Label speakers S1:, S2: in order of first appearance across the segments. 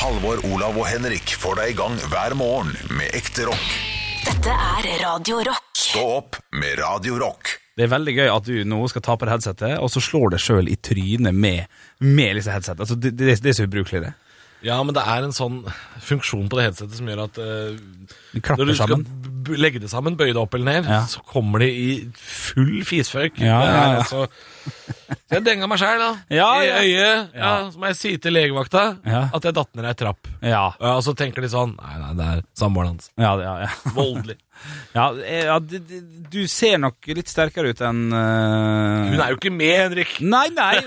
S1: Halvor, Olav og Henrik får deg i gang hver morgen med ekte rock.
S2: Dette er Radio Rock.
S1: Stå opp med Radio Rock.
S3: Det er veldig gøy at du nå skal ta på deg headsetet, og så slår det sjøl i trynet med, med liksom headsetet. Altså, det, det, det er så ubrukelig, det.
S4: Ja, men det er en sånn funksjon på det headsetet som gjør at eh,
S3: Det klapper
S4: når du skal
S3: sammen.
S4: b- legge det sammen, bøye det opp eller ned,
S3: Ja.
S4: så kommer det i full fisføyk.
S3: Ja,
S4: Det er
S3: ja, ja.
S4: altså- Så jeg denga meg sjæl, da.
S3: Ja,
S4: I
S3: ja.
S4: øyet. Ja.
S3: Ja.
S4: så må jeg si til legevakta
S3: Ja.
S4: at jeg datt ned ei trapp.
S3: Ja,
S4: Ja, og så tenker de sånn Nei, nei, det er samboeren hans.
S3: ja, ja. ja.
S4: Voldelig.
S3: ja, eh, ja det- det- du ser nok litt sterkere ut enn eh,
S4: Hun er jo ikke med, Henrik.
S3: Nei, nei.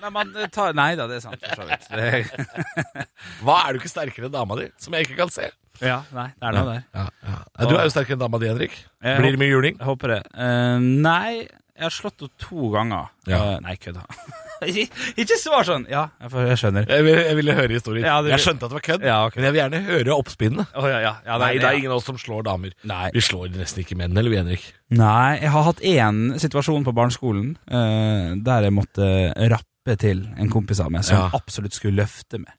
S3: Nei, man, eh, tar- nei da, det er sant, for så vidt. Det,
S4: Hva er du ikke sterkere enn dama di, som jeg ikke kan se?
S3: ja, nei, det er noe der.
S4: Ja, ja. Nei, Du er jo sterkere enn dama di, Henrik.
S3: Jeg
S4: Blir det mye juling?
S3: Jeg håper det. Eh, nei, jeg har slått henne to ganger.
S4: Ja.
S3: Eh, nei, kødda. ikke, ikke svar sånn! Ja, jeg, får- jeg skjønner.
S4: Jeg, vil- jeg ville høre historien.
S3: Ja, det-
S4: Jeg skjønte at det var kødd,
S3: Ja, ok.
S4: men jeg vil gjerne høre oppspinnet.
S3: Å, ja, ja, ja,
S4: Nei, det
S3: ja.
S4: er ingen av oss som slår damer.
S3: Nei.
S4: Vi slår nesten ikke menn, eller vi, Henrik?
S3: Nei, jeg har hatt én situasjon på barneskolen eh, der jeg måtte rappe til en kompis av meg som
S4: Ja.
S3: absolutt skulle løfte meg.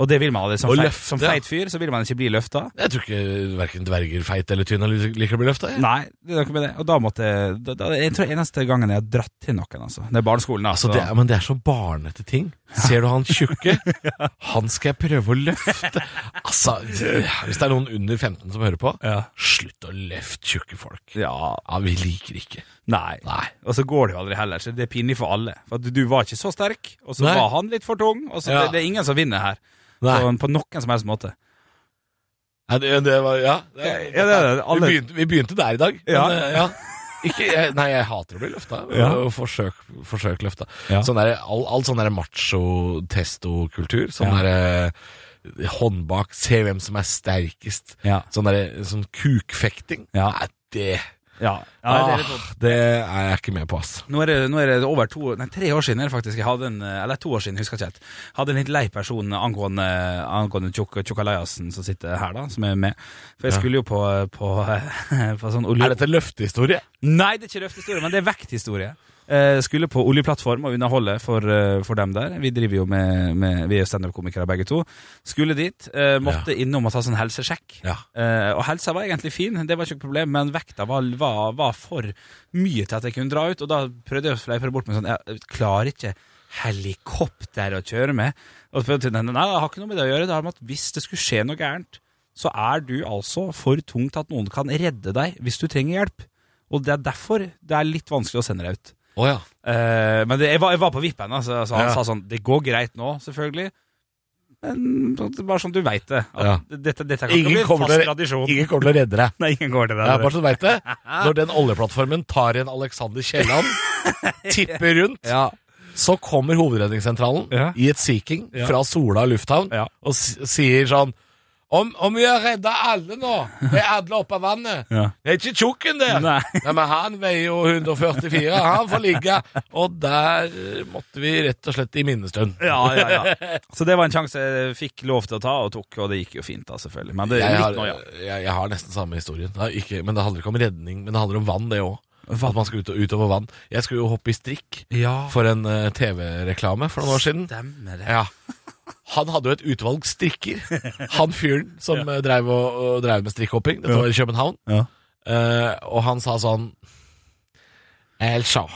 S3: Og det vil man aldri. Som,
S4: Å
S3: feit,
S4: løfte,
S3: som feit fyr så vil man ikke bli løfta.
S4: Jeg tror ikke verken dverger, feit eller tynn liker å bli løfta.
S3: Nei, det er noe med det. Og da måtte jeg da, da, Jeg tror eneste gangen jeg har dratt til noen, altså. Det er barneskolen,
S4: Altså,
S3: altså.
S4: det er, men det er så barnete ting. Ser du han tjukke? Han skal jeg prøve å løfte. Altså, Hvis det er noen under 15 som hører på,
S3: Ja.
S4: slutt å løfte tjukke folk.
S3: ja,
S4: Ja, Vi liker ikke.
S3: nei.
S4: Nei.
S3: Og så går det jo aldri heller, så det er pinlig for alle. For at du var ikke så sterk, og så
S4: Nei.
S3: var han litt for tung, og så
S4: Ja.
S3: det, det er ingen som vinner her.
S4: Nei.
S3: På, på noen som helst måte.
S4: Nei, det, det var, ja, det,
S3: Ja, det er det. Alle-
S4: Vi, begynte, vi begynte der i dag. men,
S3: Ja.
S4: eh, ja. Ikke, jeg, nei, jeg hater å bli løfta.
S3: Ja.
S4: Og forsøk, forsøk løfta.
S3: Ja.
S4: Sånn der, all, all sånn der macho-testo-kultur. Sånn
S3: Ja.
S4: der, eh, håndbak, se hvem som er sterkest.
S3: Ja.
S4: Sånn, der, sånn kukfekting.
S3: Ja.
S4: Nei, det,
S3: Ja, ja det er litt
S4: ah, det er jeg ikke med på, ass.
S3: Nå er det, nå er det over to, nei, tre år siden er det faktisk jeg hadde en, eh, Eller to år siden, husker jeg ikke helt. Hadde en litt lei person angående, angående Tjok- Tjokkalajasen som sitter her, da, som er med. For jeg skulle jo på, på, på sånn olje...
S4: Er dette løftehistorie?
S3: Nei, det er ikke røfthistorie, men det er vekthistorie. Eh, skulle på oljeplattform og underholde for, eh, for dem der. Vi driver jo med, med Vi er standup-komikere begge to. Skulle dit. Eh, måtte innom og ta sånn helsesjekk.
S4: Ja.
S3: Eh, og helsa var egentlig fin, det var ikke noe problem, men vekta var, var, var for mye til at jeg kunne dra ut. Og da prøvde jeg å fleipe det bort med sånn Jeg klarer ikke helikopter å kjøre med. Og så prøvde jeg å si, nei, nei, det har ikke noe med det å gjøre. Det har med at hvis det skulle skje noe gærent, så er du altså for tung til at noen kan redde deg hvis du trenger hjelp. Og det er derfor det er litt vanskelig å sende deg ut.
S4: Å ja.
S3: Eh, men det, jeg, var, jeg var på vippen, altså, så han
S4: Ja.
S3: sa sånn Det går greit nå, selvfølgelig. Men bare sånn du veit det. At
S4: Ja.
S3: Dette, dette kan ikke
S4: Ingen
S3: bli en
S4: kommer
S3: fast
S4: til å-
S3: tradisjon.
S4: Ingen kommer til å redde deg.
S3: Nei, ingen går til det.
S4: Ja, bare så du vet det. Når den oljeplattformen tar igjen Alexander Kielland, tipper rundt,
S3: ja.
S4: så kommer hovedredningssentralen
S3: Ja.
S4: i et Sea King
S3: Ja.
S4: fra Sola lufthavn
S3: Ja.
S4: og s- sier sånn om, om vi har redda alle nå, vi er alle oppe av vannet.
S3: Ja.
S4: Det er ikke tjukken der!
S3: Nei.
S4: men han veier jo 144, han får ligge. Og der eh, måtte vi rett og slett i minnestund.
S3: Ja, ja, ja. Så det var en sjanse jeg fikk lov til å ta, og tok, og det gikk jo fint, da, selvfølgelig. Men det er
S4: Jeg har,
S3: litt nå, ja.
S4: jeg, jeg har nesten samme historien. Det er ikke, men det handler ikke om redning, men det handler om vann, det òg. At man skal ut, utover vann. Jeg skulle jo hoppe i strikk for en eh, TV-reklame for noen år siden.
S3: Stemmer det.
S4: Ja. Han hadde jo et utvalg strikker. Han fyren som eh, drev, og, og drev med strikkhopping. Dette var i København.
S3: Ja.
S4: Eh, og han sa sånn Altså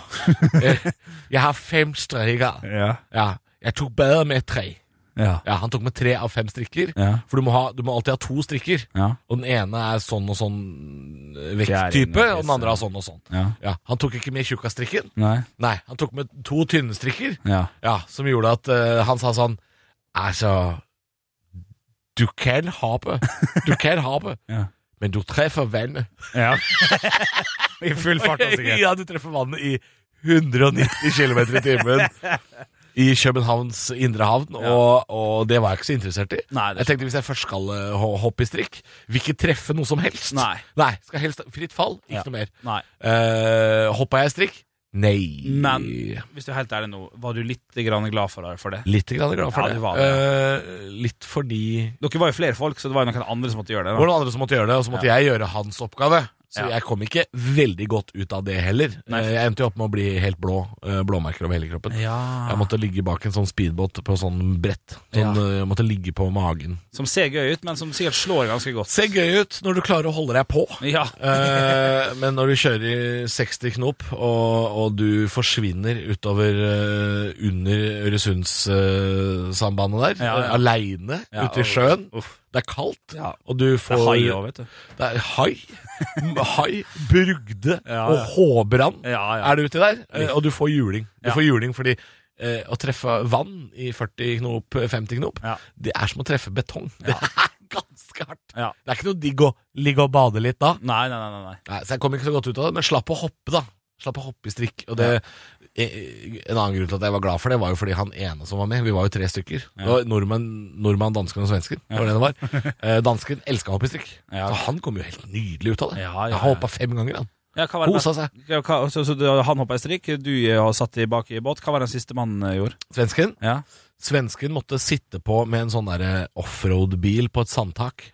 S4: eh, Jeg har fem strikker.
S3: Ja.
S4: Ja. Jeg tok bare med tre.
S3: Ja.
S4: Ja, Han tok med tre av fem strikker.
S3: Ja.
S4: For du må, ha, du må alltid ha to strikker.
S3: Ja.
S4: Og den ene er sånn og sånn eh,
S3: Fjæring
S4: vekttype,
S3: og
S4: og den andre er sånn og sånn.
S3: Ja.
S4: Ja, Han tok ikke med tjukkastrikken.
S3: Nei.
S4: Nei, han tok med to tynne strikker.
S3: Ja.
S4: Ja, som gjorde at eh, han sa sånn Altså, du kan hoppe. Du kan hoppe,
S3: Ja.
S4: men du treffer vannet.
S3: ja. I full fart, altså. sikkert.
S4: ja, du treffer vannet i 190 km i timen i Københavns indre havn, og, og det var jeg ikke så interessert i.
S3: Nei, det
S4: Jeg tenkte hvis jeg først skal eh, ho- hoppe i strikk, vil ikke treffe noe som helst.
S3: Nei.
S4: skal helst Fritt fall, ikke
S3: Ja.
S4: noe mer.
S3: Nei.
S4: Uh, hoppa jeg i strikk? Nei.
S3: Men hvis du er helt ærlig nå, var du litt grann glad for det? For det?
S4: Litt grann glad for
S3: Ja, du
S4: det.
S3: var
S4: Eh, litt fordi
S3: Dere var jo flere folk, så det var jo noen andre som måtte gjøre det.
S4: Det var noen andre som måtte gjøre det, og så måtte jeg gjøre hans oppgave. Så
S3: Ja.
S4: jeg kom ikke veldig godt ut av det heller.
S3: Nei.
S4: Eh, Jeg endte jo opp med å bli helt blå. eh, Blåmerker over hele kroppen.
S3: Ja.
S4: Jeg måtte ligge bak en sånn speedbåt på sånn brett.
S3: Ja.
S4: Sånn, eh, Jeg måtte ligge på magen.
S3: Som ser gøy ut, men som sikkert slår ganske godt.
S4: Ser gøy ut når du klarer å holde deg på.
S3: Ja.
S4: Eh, men når du kjører i 60 knop, og, og du forsvinner utover eh, under Øresundssambandet der,
S3: Ja,
S4: ja,
S3: ja.
S4: aleine
S3: Ja, og-
S4: ute i sjøen
S3: Uff.
S4: Det er kaldt,
S3: Ja.
S4: og du
S3: Det
S4: får
S3: er hai òg, vet du.
S4: Det er hai. hai, brugde
S3: Ja,
S4: og
S3: ja.
S4: håbrann
S3: Ja, ja.
S4: er du uti der, eh, og du får juling. Du
S3: Ja.
S4: får juling fordi eh, å treffe vann i 40 knop, 50 knop,
S3: Ja.
S4: det er som å treffe betong. Det er ganske hardt.
S3: Ja.
S4: Det er ikke noe digg å ligge og bade litt da.
S3: Nei, nei, nei. nei.
S4: Nei, så jeg kom ikke så godt ut av det, men slapp å hoppe, da. Slapp å hoppe i strikk. Og det, eh, En annen grunn til at jeg var glad for det, var jo fordi han ene som var med, vi var jo tre stykker. Det var nordmenn, nordmann, dansken og svensken. Det var det det var. Eh, dansken elska å hoppe i strikk.
S3: Ja.
S4: Så han kom jo helt nydelig ut av det.
S3: Ja, ja,
S4: Jeg har hoppa fem ganger, han.
S3: Ja, hva var det
S4: Kosa seg.
S3: Ja, hva, så, så du, han hoppa i strikk, du eh, har satt i bak i båt. Hva var den siste mannen eh, gjorde?
S4: Svensken
S3: Ja.
S4: Svensken måtte sitte på med en sånn derre offroad-bil på et sandtak.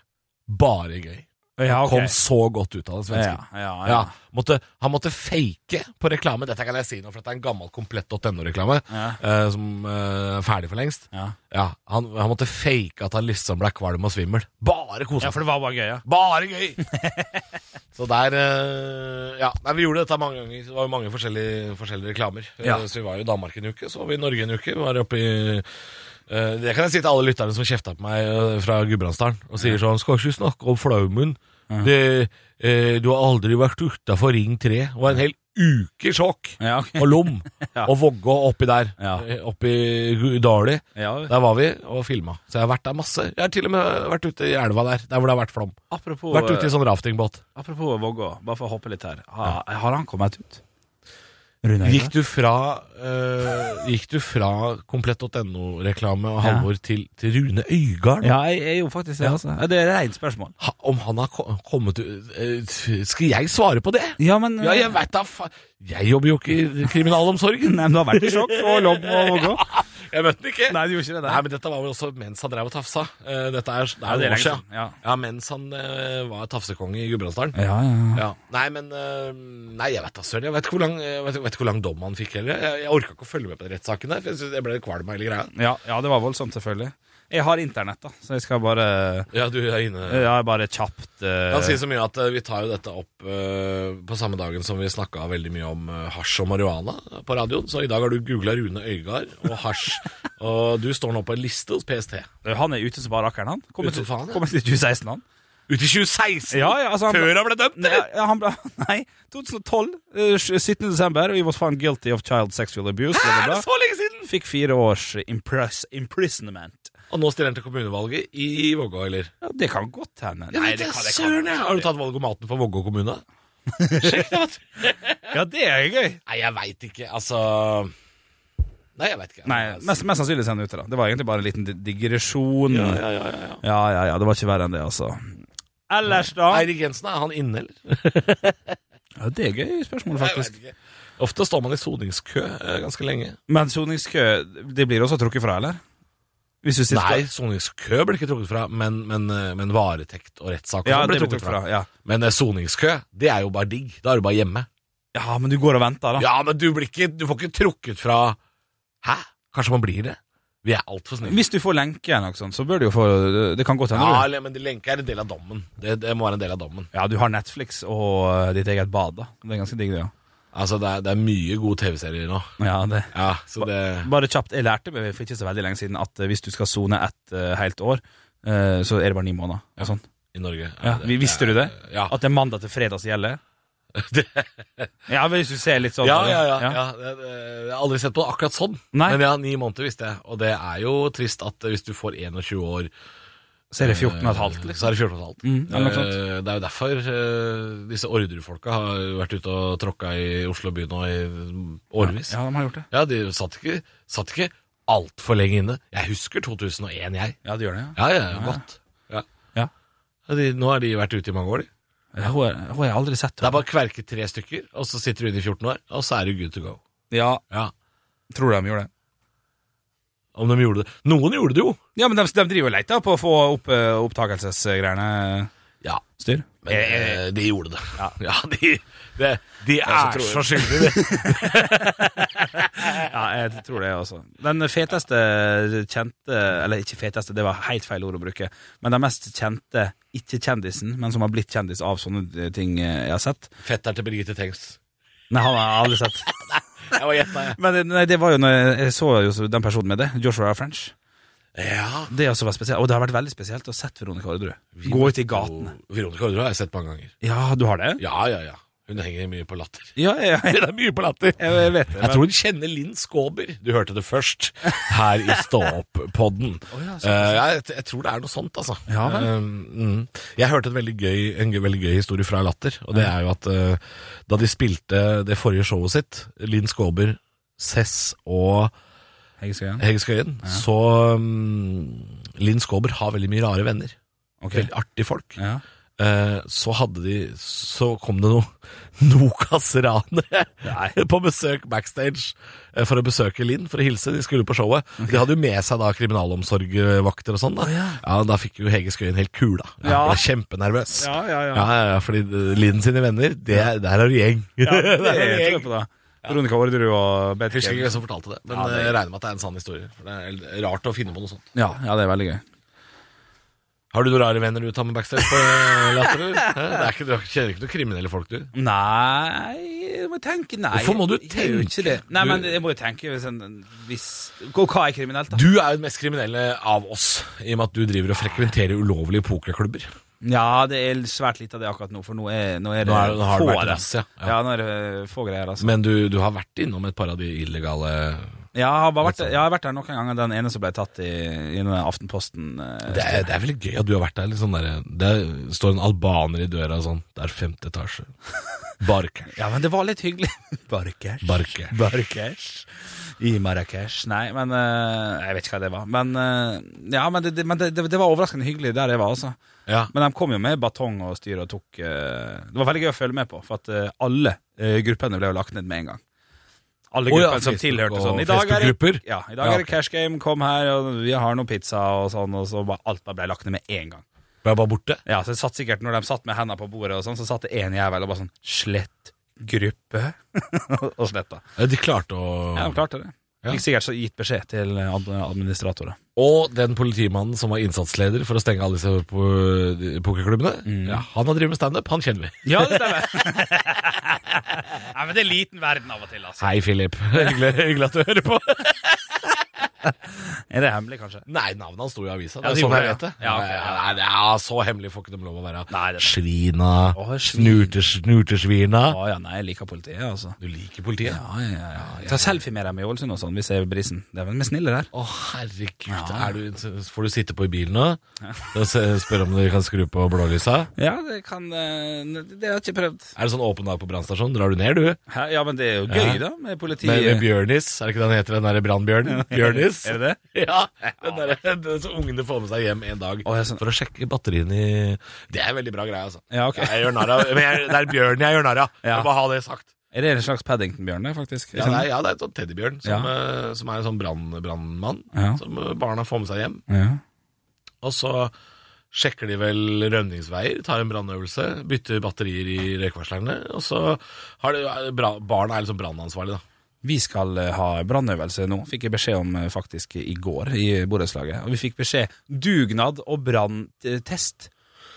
S4: Bare gøy.
S3: Ja,
S4: Kom så godt ut av
S3: ja,
S4: det, svensken.
S3: ja, ja.
S4: Ja, måtte, han måtte fake på reklame. Dette kan jeg si nå, for dette er en gammel komplett.no-reklame
S3: Ja.
S4: eh, som eh, er ferdig for lengst.
S3: Ja.
S4: Ja, han, han måtte fake at han liksom ble kvalm og svimmel. Bare kose
S3: ja,
S4: seg.
S3: for det var bare gøy, ja.
S4: Bare gøy! så der eh, Ja, nei, vi gjorde dette mange ganger. Det var jo mange forskjellige, forskjellige reklamer.
S3: Ja.
S4: Eh, Så vi var jo i Danmark en uke, så var vi i Norge en uke. Vi var oppe i eh, det kan jeg si til alle lytterne som kjefter på meg eh, fra Gudbrandsdalen og sier sånn 'Skal ikke snakke om flaumen'. Det, eh, 'Du har aldri vært utafor Ring 3.' Det var en hel uke i sjokk.
S3: Ja, ok.
S4: Og Lom
S3: Ja.
S4: og Vågå oppi der.
S3: Ja.
S4: Eh, Oppi Dali.
S3: ja.
S4: Der var vi og filma. Så jeg har vært der masse. Jeg har til og med vært ute i elva der, der hvor det har vært flom.
S3: Apropos,
S4: Vært ute i
S3: eh,
S4: sånn raftingbåt.
S3: apropos Vågå, bare for å hoppe litt her. Har, har han kommet ut? Rune Øygaard?
S4: Gikk du fra eh, Gikk du fra komplett.no-reklame og Halvor til, til Rune Øygarden?
S3: Ja, jeg jeg er jo faktisk det. Altså. Ja, Det er et rent spørsmål.
S4: Ha, om han har ko- kommet ut eh, Skal jeg svare på det?
S3: Ja, men eh,
S4: Ja, jeg veit da faen Jeg jobber jo ikke i kriminalomsorgen.
S3: Nei, men du har vært i sjokk og lobb og Vågå.
S4: Jeg møtte den ikke.
S3: Nei, du gjorde ikke det.
S4: Nei, men dette var vel også mens han drev og tafsa. Eh, dette er, det
S3: Ja,
S4: er
S3: det er
S4: noen år
S3: lenge
S4: siden.
S3: siden, ja.
S4: Ja, mens han eh, var tafsekonge i Gudbrandsdalen.
S3: Ja, ja.
S4: Ja. Nei, men eh, Nei, jeg vet da søren. Jeg vet ikke hvor lang, jeg vet, jeg vet ikke hvor lang dom han fikk heller. Jeg, jeg orka ikke å følge med på den rettssaken der, for jeg, synes jeg ble litt kvalm av hele greia.
S3: Ja, ja, det var voldsomt, selvfølgelig. Jeg har internett, da, så jeg skal bare eh,
S4: Ja, du er inne
S3: Jeg er bare kjapt eh,
S4: Eh, Han sier så mye at eh, vi tar jo dette opp eh, på samme dagen som vi snakka veldig mye om eh, hasj og marihuana på radioen. Så i dag har du googla Rune Øygard og hasj, og du står nå på en liste hos PST.
S3: Han er ute som bare rakkeren, han. Kommer
S4: Ute
S3: til,
S4: som faen, ja.
S3: kommer til 2016, han.
S4: Ut i 2016!
S3: Ja, ja, altså han ble-
S4: Før han ble dømt,
S3: Nei,
S4: eller?
S3: ja, han ble, nei 2012. eh, 17. desember. He was found guilty of child sexual abuse.
S4: Hæ,
S3: bla,
S4: er
S3: bla,
S4: det
S3: bla.
S4: så lenge siden?
S3: Fikk fire års impress, imprisonment.
S4: Og nå stiller han til kommunevalget i Vågå, eller?
S3: Ja, det kan godt hende.
S4: Jeg vet
S3: det
S4: da
S3: kan- det kan-
S4: søren, jeg! Har du tatt valgomaten for Vågå kommune? Sjekk det, vet du.
S3: Ja, det er gøy.
S4: Nei, jeg veit ikke. Altså Nei, jeg veit ikke. Altså.
S3: Nei, mest, mest sannsynlig sender ute, da. Det var egentlig bare en liten di- digresjon.
S4: ja, ja, ja, ja.
S3: Ja, ja, ja, det var ikke verre enn det, altså. Ellers, da?
S4: Eirik Jensen, er han inne, eller?
S3: Ja, det er gøy spørsmål, faktisk.
S4: Jeg vet ikke. Ofte står man i soningskø eh, ganske lenge.
S3: Men soningskø, det blir også trukket fra, eller? Hvis du sitter
S4: Nei, soningskø blir ikke trukket fra, men, men, eh, men varetekt og rettssak og
S3: Ja,
S4: sånn
S3: det blir trukket fra. Ja.
S4: Men eh, soningskø, det er jo bare digg. Da er du bare hjemme.
S3: ja, men du går og venter, da.
S4: Ja, men du, blir ikke, du får ikke trukket fra Hæ? Kanskje man blir det? Vi er altfor snille.
S3: Hvis du får lenke eller noe sånt, så bør du jo få Det kan godt hende,
S4: Ja,
S3: du.
S4: eller- men lenke er en del av dommen. Det, det må være en del av dommen.
S3: Ja, du har Netflix og eh, ditt eget bad, da. Det er ganske digg, det, ja.
S4: Altså, det er, det er mye gode TV-serier nå.
S3: ja det.
S4: Ja, så det
S3: Bare kjapt, jeg lærte meg for ikke så veldig lenge siden at eh, hvis du skal sone ett eh, helt år, eh, så er det bare ni måneder. Og sånn.
S4: I Norge.
S3: ja,
S4: det-
S3: vi- visste du det?
S4: Ja.
S3: At det er mandag til fredag som gjelder. Ja, hvis du ser litt sånn
S4: Ja,
S3: på det.
S4: ja, ja, ja. det, det, Jeg har aldri sett på det akkurat sånn.
S3: Nei.
S4: Men ja, ni måneder visste jeg. Og det er jo trist at hvis du får 21 år, eh,
S3: Så er det 14 og et halvt,
S4: så
S3: liksom.
S4: er det 14 og et halvt.
S3: Mm, eller noe sånt.
S4: Eh, Det er jo derfor eh, disse Orderud-folka har vært ute og tråkka i Oslo by nå i årevis. Ja,
S3: Ja, de har gjort det.
S4: de satt ikke, satt ikke altfor lenge inne. Jeg husker 2001, jeg.
S3: Ja, det gjør det, ja.
S4: Ja, ja, godt. Ja.
S3: Ja.
S4: Ja, de, nå har de vært ute i mange år, de.
S3: Ja, Hun er- hun har jeg aldri sett.
S4: Det er bare å kverke tre stykker, og så sitter du inne i 14 år, og så er du good to go.
S3: Ja,
S4: Ja,
S3: tror de gjorde det.
S4: om de gjorde det Noen gjorde det jo!
S3: Ja, men de, de driver og leter på å få opp eh, opptakelsesgreiene.
S4: Ja,
S3: styr?
S4: men eh, de gjorde det. Ja, de, det, de
S3: så
S4: er
S3: tror jeg.
S4: så skyldige, de.
S3: Ja, jeg tror det også. Den feteste kjente Eller ikke feteste, det var helt feil ord å bruke. Men den mest kjente ikke-kjendisen, men som har blitt kjendis av sånne ting eh, jeg har sett.
S4: Fetteren til Birgitte Tengs.
S3: Nei, han har jeg aldri sett.
S4: Jeg var gjetta, jeg.
S3: Men eh, nei, det var jo når jeg, jeg så jo så den personen med det. Joshua French.
S4: Ja.
S3: Det også var spesielt, Og det har vært veldig spesielt å sett Veronica Orderud gå ut i gatene.
S4: Og Veronica Orderud har jeg sett mange ganger.
S3: Ja, du har det?
S4: Ja, ja, ja. Hun henger mye på latter.
S3: Ja, ja, ja.
S4: Hun er mye på latter.
S3: Jeg vet det.
S4: Jeg tror hun kjenner Linn Skåber. Du hørte det først her i Stå opp-podden.
S3: ja, sånn.
S4: Eh, jeg, jeg tror det er noe sånt, altså.
S3: Ja, vel.
S4: Eh, mm. Jeg hørte en veldig, gøy, en gøy- veldig gøy historie fra Latter, og det er jo at eh, da de spilte det forrige showet sitt, Linn Skåber, Cess og
S3: Eh, Jeg skal igjen.
S4: Hege Skøyen, så mm, Linn Skåber har veldig mye rare venner.
S3: Ok.
S4: Veldig artige folk.
S3: Ja.
S4: Eh, så hadde de Så kom det noen Nokas-ranere på besøk backstage eh, for å besøke Linn, for å hilse. De skulle på showet. De hadde jo med seg da kriminalomsorgvakter og sånn. Da ja. da fikk jo Hege Skøyen helt kula. Hun
S3: Ja.
S4: ble kjempenervøs.
S3: Ja, ja, ja.
S4: Ja, ja, ja, fordi eh, Linn sine venner, det, der er du gjeng.
S3: Det tror
S4: Der er du
S3: jeg
S4: gjeng.
S3: på, da. Veronica Orderud og Bent
S4: Jeg husker ikke
S3: Kjell.
S4: hvem som fortalte det, men
S3: Ja, det er-
S4: eh, jeg regner med at det er en sann historie. For Det er rart å finne på noe sånt.
S3: Ja, ja, det er veldig gøy.
S4: Har du noen rare venner du tar med backstage på eh, Latter? eller? Hæ? Det er ikke, du kjenner ikke noen kriminelle folk, du?
S3: Nei jeg må tenke nei.
S4: Hvorfor må du
S3: Jeg gjør jo ikke det.
S4: tenke?
S3: Nei,
S4: Du-
S3: men jeg må jo tenke hvis, en, hvis og Hva er kriminelt, da?
S4: Du er jo den mest kriminelle av oss, i og med at du driver og frekventerer ulovlige pokerklubber.
S3: Ja, det er svært lite av det akkurat nå, for nå er, nå er det
S4: Nå er- nå har det
S3: få
S4: vært
S3: av
S4: rass, ja. Ja.
S3: Ja. nå er det få greier, altså.
S4: Men du, du har vært innom et par av de illegale
S3: Ja, jeg har, bare vært, jeg har vært der noen ganger, den ene som ble tatt i, i den der Aftenposten. eh,
S4: det er, det er veldig gøy at du har vært der. Litt sånn der det står en albaner i døra og sånn. Det er femte etasje. Barkers.
S3: Ja, men det var litt hyggelig. Barkers.
S4: Barker.
S3: Barkers. I Marrakech. Nei, men eh, Jeg vet ikke hva det var. Men, eh, ja, men, det, det, men det, det, det var overraskende hyggelig der jeg var, altså.
S4: Ja.
S3: Men de kom jo med batong og styr og tok eh, Det var veldig gøy å følge med på, for at eh, alle eh, gruppene ble jo lagt ned med en gang. Alle
S4: Å ja,
S3: gruppene som
S4: Facebook
S3: tilhørte
S4: og
S3: sånn. I dag er det,
S4: Facebook-grupper?
S3: ja, i dag
S4: Ja,
S3: er det
S4: ok.
S3: cash game, kom her, og vi har noe pizza og sånn, og så bare, alt bare ble lagt ned med en gang.
S4: Ble jeg bare borte?
S3: Ja, så det satt sikkert Når de satt med hendene på bordet, og sånn så satt det én jævel og bare sånn Slett gruppe. og sletta.
S4: Eh, De klarte å
S3: Ja, de klarte det.
S4: Ja.
S3: Fikk sikkert så gitt beskjed til ad- administratorer.
S4: Og den politimannen som var innsatsleder for å stenge alle disse po- de pokerklubbene,
S3: Mm.
S4: ja, han har drevet med standup. Han kjenner vi.
S3: Ja, det stemmer. Nei, men det er liten verden av og til, altså.
S4: Hei, Philip. Hyggelig, hyggelig at du hører på.
S3: Er det hemmelig, kanskje?
S4: Nei, navnet hans sto i avisa.
S3: Ja, det
S4: Det er sånn
S3: gjorde
S4: jeg
S3: det,
S4: vet det.
S3: ja. Ja, ok, ja.
S4: Nei, det er så hemmelig får ikke de lov å være.
S3: Nei, det-
S4: Svina.
S3: Å, svin.
S4: Snute, snutesvina.
S3: Å ja, nei, jeg liker politiet, altså.
S4: Du liker politiet?
S3: Ja, ja, ja, ja. Ta selfie med dem i Ålesund og sånn, hvis jeg er brisen. Det er vel vi er snille der.
S4: Å, herregud. Er du, får du sitte på i bilen nå? Og se- Spørre om dere kan skru på blålysa?
S3: Ja, det kan eh, Det har jeg ikke prøvd.
S4: Er det sånn åpen dag på brannstasjonen? Drar du ned, du?
S3: Hæ? Ja, men det er jo gøy, da,
S4: Ja.
S3: med
S4: Med, med
S3: politiet.
S4: Bjørnis? Er det ikke den heter, den derre brannbjørnen? Bjørnis?
S3: Er det det?
S4: Ja, den, der, den som ungene får med seg hjem en dag
S3: Å, jeg sånn-
S4: for å sjekke batteriene i Det er en veldig bra greie, altså.
S3: Ja, ok.
S4: Jeg gjør narr av Men jeg, det er bjørnen jeg gjør narr av.
S3: Ja.
S4: Jeg må Bare ha det sagt.
S3: Er det en slags Paddington-bjørn, det, faktisk?
S4: Ja, det er, ja, det er en sånn teddybjørn som, eh, som er en sånn brann- brannmann
S3: Ja.
S4: som eh, barna får med seg hjem.
S3: Ja.
S4: Og så sjekker de vel rømningsveier, tar en brannøvelse, bytter batterier i røykvarslerne, og så har de, er det bra, barna er liksom brannansvarlige, da.
S3: Vi skal eh, ha brannøvelse nå, fikk jeg beskjed om eh, faktisk i går i borettslaget. Og vi fikk beskjed dugnad og branntest.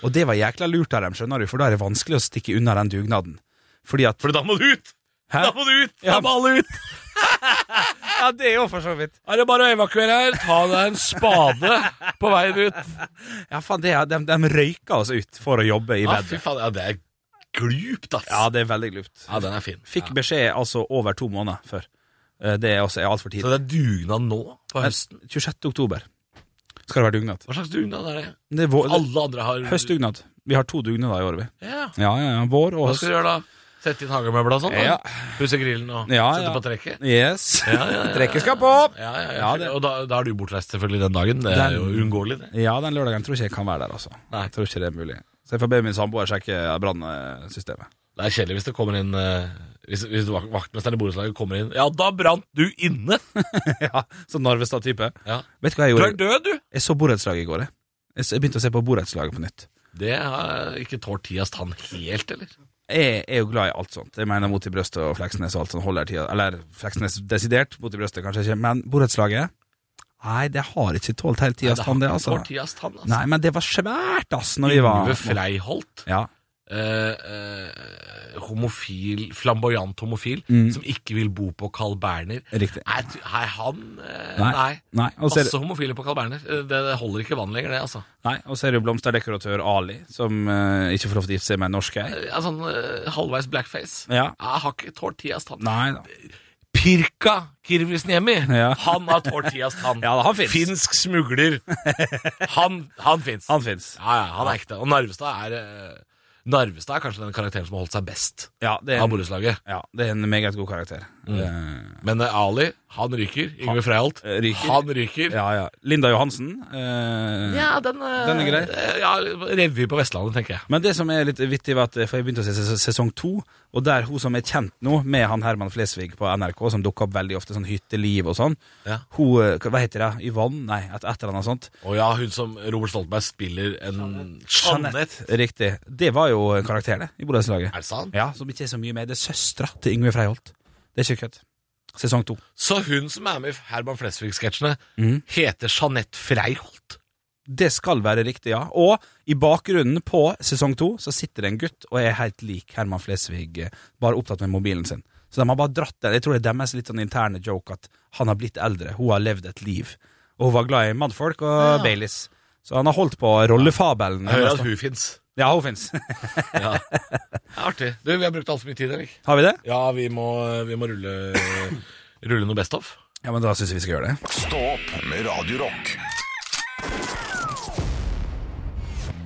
S3: Og det var jækla lurt av dem, skjønner du, for da er det vanskelig å stikke unna den dugnaden. Fordi at
S4: For da må du ut!
S3: Hæ?
S4: Da må du ut!
S3: Ja.
S4: Da må alle ut!
S3: Ja, det er jo for så vidt.
S4: Er det bare å evakuere her? Ta deg en spade på veien ut.
S3: Ja, faen, det er, de, de røyka oss altså ut for å jobbe i
S4: Ja, Ah, fy
S3: bedet.
S4: faen, ja, det er glupt, ass.
S3: Ja, det er veldig glupt.
S4: Ja, den er fin.
S3: Fikk
S4: ja.
S3: beskjed altså over to måneder før. Eh, Det er også er altfor
S4: Så
S3: tidlig.
S4: det er dugnad nå, på
S3: Men
S4: høsten?
S3: 26. oktober skal det være dugnad.
S4: Hva slags dugnad er det?
S3: Det er vår,
S4: Alle andre har
S3: høstdugnad. Vi har to dugnader i året, vi.
S4: Ja.
S3: Ja, ja, ja. Vår og
S4: Hva
S3: høst.
S4: skal du gjøre da? Sette inn hagemøbler og sånn? da?
S3: Ja.
S4: Pusse grillen og
S3: Ja,
S4: sette
S3: ja.
S4: på trekket?
S3: Yes.
S4: Ja, ja, ja.
S3: Trekket skal på!
S4: Ja, ja, ja.
S3: Ja, det-
S4: Og da, da er du bortreist selvfølgelig den dagen. Det er
S3: Den-
S4: jo uunngåelig, det.
S3: Ja, den lørdagen tror ikke jeg kan være der, altså.
S4: Nei.
S3: Jeg tror ikke det er mulig. Så jeg får be min samboer sjekke brannsystemet.
S4: Det er kjedelig hvis det kommer inn eh, Hvis, hvis vak- vaktmesteren i borettslaget kommer inn Ja, da brant du inne!
S3: ja, så Narvestad-type.
S4: Ja.
S3: Vet du hva jeg
S4: Du er
S3: gjorde?
S4: død, du!
S3: Jeg så borettslaget i går, jeg. Jeg s- jeg begynte å se på borettslaget på nytt.
S4: Det har ikke tålt tidas tann helt, eller?
S3: Jeg er jo glad i alt sånt. Jeg mener Mot i brøstet og Fleksnes og alt sånt holder tida. Eller Fleksnes desidert, Mot i brøstet kanskje ikke. Men borettslaget Nei, det har ikke tålt hele tidas tann, det, altså.
S4: tålt tidas tann, altså.
S3: Nei, men det var svært, ass, når vi
S4: Yngve
S3: var
S4: Freiholt,
S3: Ja.
S4: eh, eh, homofil, flamboyant homofil,
S3: Mm.
S4: som ikke vil bo på Carl Berner.
S3: Riktig.
S4: Nei, tu- nei, han eh,
S3: Nei.
S4: Nei.
S3: Nei, og så er det-
S4: Masse homofile på Carl Berner. Eh, Det, det holder ikke vann lenger, det, altså.
S3: Nei, og så er det jo blomsterdekoratør Ali, som eh, ikke får lov til å gifte seg med en norsk ei.
S4: Eh, ja, sånn eh, halvveis blackface.
S3: Ja.
S4: Jeg har ikke tålt tidas tann.
S3: Nei da.
S4: Pirka Kirvisniemi,
S3: Ja.
S4: han har tålt tidas tann.
S3: Ja, han fins.
S4: Finsk smugler. Han, han fins.
S3: Han fins.
S4: Ja, ja, han er ekte. Og Narvestad er eh, Narvestad er kanskje den karakteren som har holdt seg best
S3: Ja, det er
S4: av
S3: en,
S4: borettslaget.
S3: ja, det er en meget god karakter. Eh,
S4: Men eh, Ali, han ryker. Yngve Freiholt,
S3: eh, ryker.
S4: han ryker.
S3: ja, ja. Linda Johansen. eh,
S4: Ja, den, eh,
S3: Den er grei.
S4: eh, Ja, Revy på Vestlandet, tenker jeg.
S3: Men det som er litt vittig, var at eh, for jeg begynte å se ses- sesong to, og der hun som er kjent nå, med han Herman Flesvig på NRK, som dukker opp veldig ofte, sånn hytteliv og sånn,
S4: Ja.
S3: hun eh, Hva heter det? Yvonne? Nei, et, et eller annet sånt.
S4: Og ja, hun som Robert Stoltenberg spiller en Jeanette.
S3: Riktig. Det var jo en karakter, det, i borettslaget.
S4: Er det sant?
S3: Ja, som ikke er så mye med. Det er søstera til Yngve Freiholt. Det er ikke kødd. Sesong to.
S4: Så hun som er med i Herman Flesvig-sketsjene,
S3: Mhm.
S4: heter Jeanette Freiholt.
S3: Det skal være riktig, ja. Og i bakgrunnen på sesong to så sitter det en gutt og er helt lik Herman Flesvig, eh, bare opptatt med mobilen sin. Så de har bare dratt det. Jeg tror det er deres litt sånn interne joke at han har blitt eldre, hun har levd et liv. Og hun var glad i mannfolk og Baileys. Så han har holdt på rollefabelen.
S4: Jeg hører at hun fins.
S3: Ja, hun fins.
S4: Ja. Artig. Du, vi har brukt altfor mye tid, Erik.
S3: har vi det?
S4: Ja, vi må, vi må rulle, rulle noe best of.
S3: Ja, men da syns jeg vi skal gjøre det.
S1: Stå opp med Radio Rock.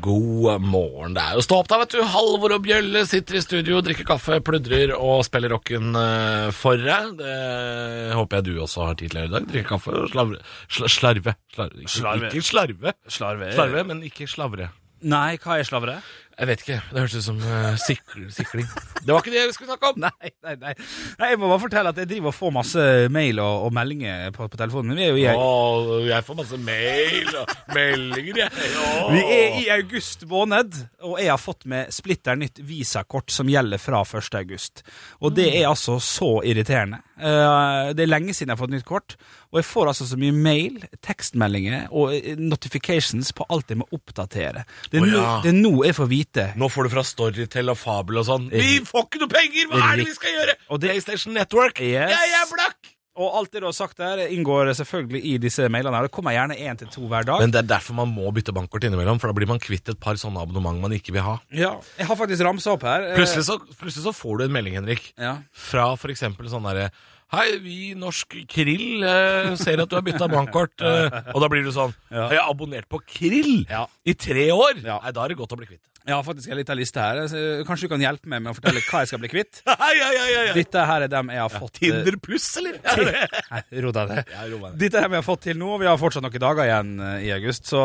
S4: God morgen. Det er jo stå opp, da, vet du. Halvor og Bjølle sitter i studio, drikker kaffe, pludrer og spiller rocken eh, for deg. Det håper jeg du også har tid til å gjøre i dag. Drikke kaffe og slavre. Sla, slarve. slarve. Ikke,
S3: Slarve.
S4: ikke slarve.
S3: Slarve.
S4: Slarve, men ikke slavre.
S3: Nei, hva er slavere?
S4: Jeg vet ikke. Det hørtes ut som eh, sikl, sikling. Det var ikke det vi skulle snakke om.
S3: Nei, nei, nei. nei. Jeg må bare fortelle at jeg driver og får masse mail og, og meldinger på, på telefonen. Vi er jo i ei-
S4: Åh, jeg får masse mail og meldinger, jeg. Åh.
S3: Vi er i august måned, og jeg har fått med splitter nytt visakort som gjelder fra 1. august. Og det
S4: Mm.
S3: er altså så irriterende. Eh, Det er lenge siden jeg har fått nytt kort, og jeg får altså så mye mail, tekstmeldinger og eh, notifications på alt jeg må oppdatere. Det er,
S4: Å ja.
S3: nå, det er nå jeg får vite.
S4: Nå får du fra Storytel og Fabel og sånn. Vi får ikke noe penger! Hva er det vi skal gjøre?
S3: Og det-
S4: PlayStation Network.
S3: Yes.
S4: Jeg er blakk!
S3: Og alt det du har sagt der, inngår selvfølgelig i disse mailene. her. Det kommer gjerne én til to hver dag.
S4: Men det er derfor man må bytte bankkort innimellom, for da blir man kvitt et par sånne abonnement man ikke vil ha.
S3: Ja, jeg har faktisk ramsa opp her. eh,
S4: Plutselig så, plutselig så får du en melding, Henrik,
S3: Ja.
S4: fra f.eks. sånn derre Hei, vi Norsk Krill eh, ser at du har bytta bankkort. Eh, og da blir du sånn Har jeg abonnert på Krill
S3: Ja.
S4: i tre år?
S3: Ja.
S4: Nei, da er det godt å bli kvitt.
S3: Jeg har faktisk en liten liste her. så Kanskje du kan hjelpe meg med å fortelle hva jeg skal bli kvitt?
S4: Ja, ja, ja, ja, ja.
S3: Dette her er dem jeg har fått eh,
S4: Tinder pluss, eller? Ja, det-
S3: Nei, ro deg ned.
S4: Ja, ro meg ned.
S3: Dette her vi har fått til nå, og vi har fortsatt noen dager igjen eh, i august. Så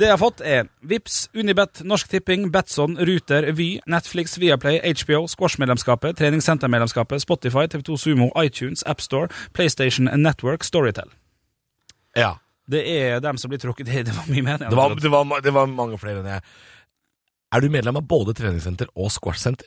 S3: det jeg har fått, er Vips, Unibet, Norsk Tipping, Betson, Ruter, Vy, Netflix, Viaplay, HBO, Squash-medlemskapet, Treningssentermedlemskapet, Spotify, TV2 Sumo, iTunes, AppStore, PlayStation Network, Storytel.
S4: ja.
S3: Det er dem som blir trukket i. Det var mye mer.
S4: Det var, det, var, ma- det var mange flere enn jeg. Er du medlem av både treningssenter og squashsenter?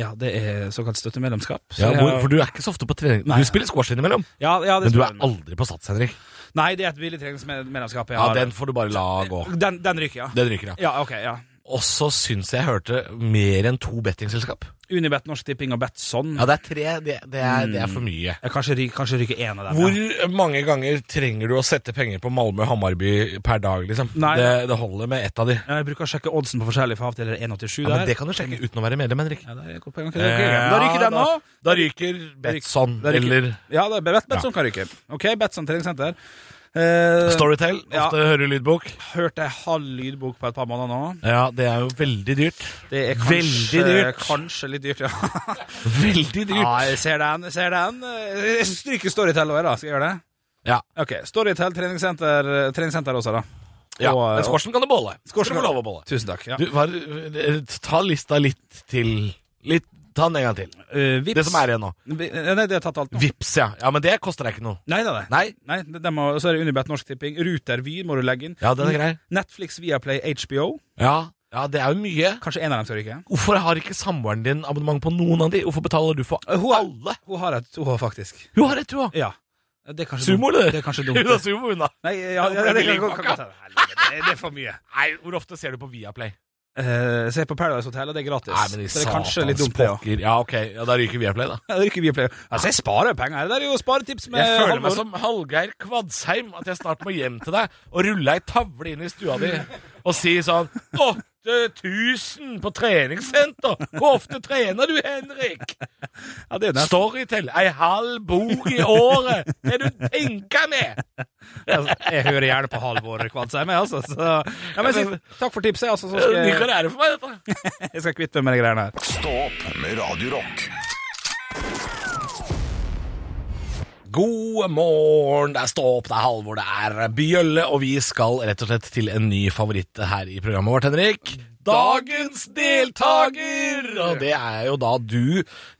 S3: Ja, det er såkalt støttemedlemskap. Så
S4: Ja,
S3: jeg
S4: hvor,
S3: har-
S4: for du er ikke så ofte på trening.
S3: Nei.
S4: Du spiller squash innimellom,
S3: ja, ja, det
S4: men du
S3: står
S4: er
S3: det med.
S4: aldri på Sats, Henrik.
S3: Nei, det er et billig treningsmedlemskap. jeg
S4: Ja,
S3: har.
S4: Den får du bare la gå.
S3: den, den ryker, ja.
S4: Den ryker, ja.
S3: Ja, ok, ja.
S4: Og så syns jeg jeg hørte mer enn to bettingselskap.
S3: Unibet, Norsk Tipping og Betson.
S4: Ja, det er tre. Det, det, er, det er for mye.
S3: Jeg kanskje, ry- kanskje ryker én av dem.
S4: Hvor
S3: Ja.
S4: mange ganger trenger du å sette penger på Malmö og Hammarby per dag, liksom?
S3: Nei.
S4: Det, det holder med ett av de.
S3: Jeg bruker å sjekke oddsen på forskjellige for av og til er det 1,87
S4: Ja, men
S3: der.
S4: det kan du sjekke uten å være medlem, Henrik.
S3: Ja, det er godt poeng. Ok, ok, ok. Da ryker
S4: Ja,
S3: den nå.
S4: Da, da ryker Betson,
S3: Da ryker-
S4: eller
S3: Ja, det er Bet Betson kan ryke. Ok, Betson treningssenter. Eh,
S4: Storytel.
S3: Ja.
S4: Ofte hører lydbok.
S3: Hørte ei halv lydbok på et par måneder nå.
S4: Ja, det er jo veldig dyrt.
S3: Det er
S4: Veldig
S3: kanskje,
S4: dyrt.
S3: kanskje litt dyrt, ja.
S4: Veldig dyrt.
S3: ja jeg ser den, jeg ser den. Eh, Jeg stryker Storytel òg, da. Skal jeg gjøre det?
S4: Ja.
S3: Ok, Storytel treningssenter, eh, treningssenter også, da.
S4: Ja,
S3: Og, eh,
S4: men
S3: og-
S4: squashen kan du bolle.
S3: Squashen
S4: Skal du få
S3: kan-
S4: lov å bolle.
S3: Tusen takk. Ja.
S4: Du, hva er det- ta lista litt til litt, Ta den en gang til.
S3: Eh, Vips.
S4: Det som er igjen nå.
S3: Vi- eh, Nei, det har tatt alt nå.
S4: Vips, ja. Ja, Men det koster deg ikke noe.
S3: Nei da, det.
S4: Nei?
S3: Nei, det, det må, så er det Unibet Norsk Tipping. Ruter Vy må du legge inn.
S4: Ja, den er grei.
S3: Netflix, Viaplay, HBO.
S4: Ja. Ja, det er jo mye.
S3: Kanskje en av dem skal ryke?
S4: Hvorfor har ikke samboeren din abonnement på noen av de? Hvorfor betaler du for
S3: Eh, hun har-
S4: alle?
S3: Hun har et hun har faktisk.
S4: Hun har et, hun òg!
S3: Ja. Det er kanskje
S4: Sumo,
S3: dumt.
S4: eller?
S3: Det er kanskje
S4: Hun har
S3: dumt.
S4: sumo, hun, da.
S3: Nei, ja, ja, det, kan- kan- kan- kan- Helvete, det, det er for mye.
S4: Nei, Hvor ofte ser du på Viaplay?
S3: Eh, se på Paradise Hotel, og det er gratis.
S4: Nei, men i
S3: så det er kanskje litt
S4: satans
S3: dumt, det òg.
S4: pokker. Ja, ok, ja, da ryker Viaplay, da.
S3: Ja, det er ikke mye pleier. Altså, jeg sparer penger. Det er jo sparetips med
S4: Jeg føler meg
S3: Halvor.
S4: som Hallgeir Kvadsheim, at jeg snart må hjem til deg og rulle ei tavle inn i stua di og si sånn 8000 på treningssenter! Hvor ofte trener du, Henrik?
S3: Ja, det er nesten.
S4: Storytel, ei halv bok i året! Det du tenker med!
S3: Altså, Jeg hører gjerne på Halvor Kvadsheim, jeg, altså. Så. Ja, men, så, takk for tipset, altså. Så skal
S4: Ny
S3: jeg,
S4: karriere for meg, dette.
S3: jeg skal kvitte meg med de greiene her.
S1: Stå opp med Radio Rock.
S4: God morgen, det er Stå opp, det er Halvor, det er Bjølle, og vi skal rett og slett til en ny favoritt her i programmet vårt, Henrik. Dagens deltaker! Og det er jo da du,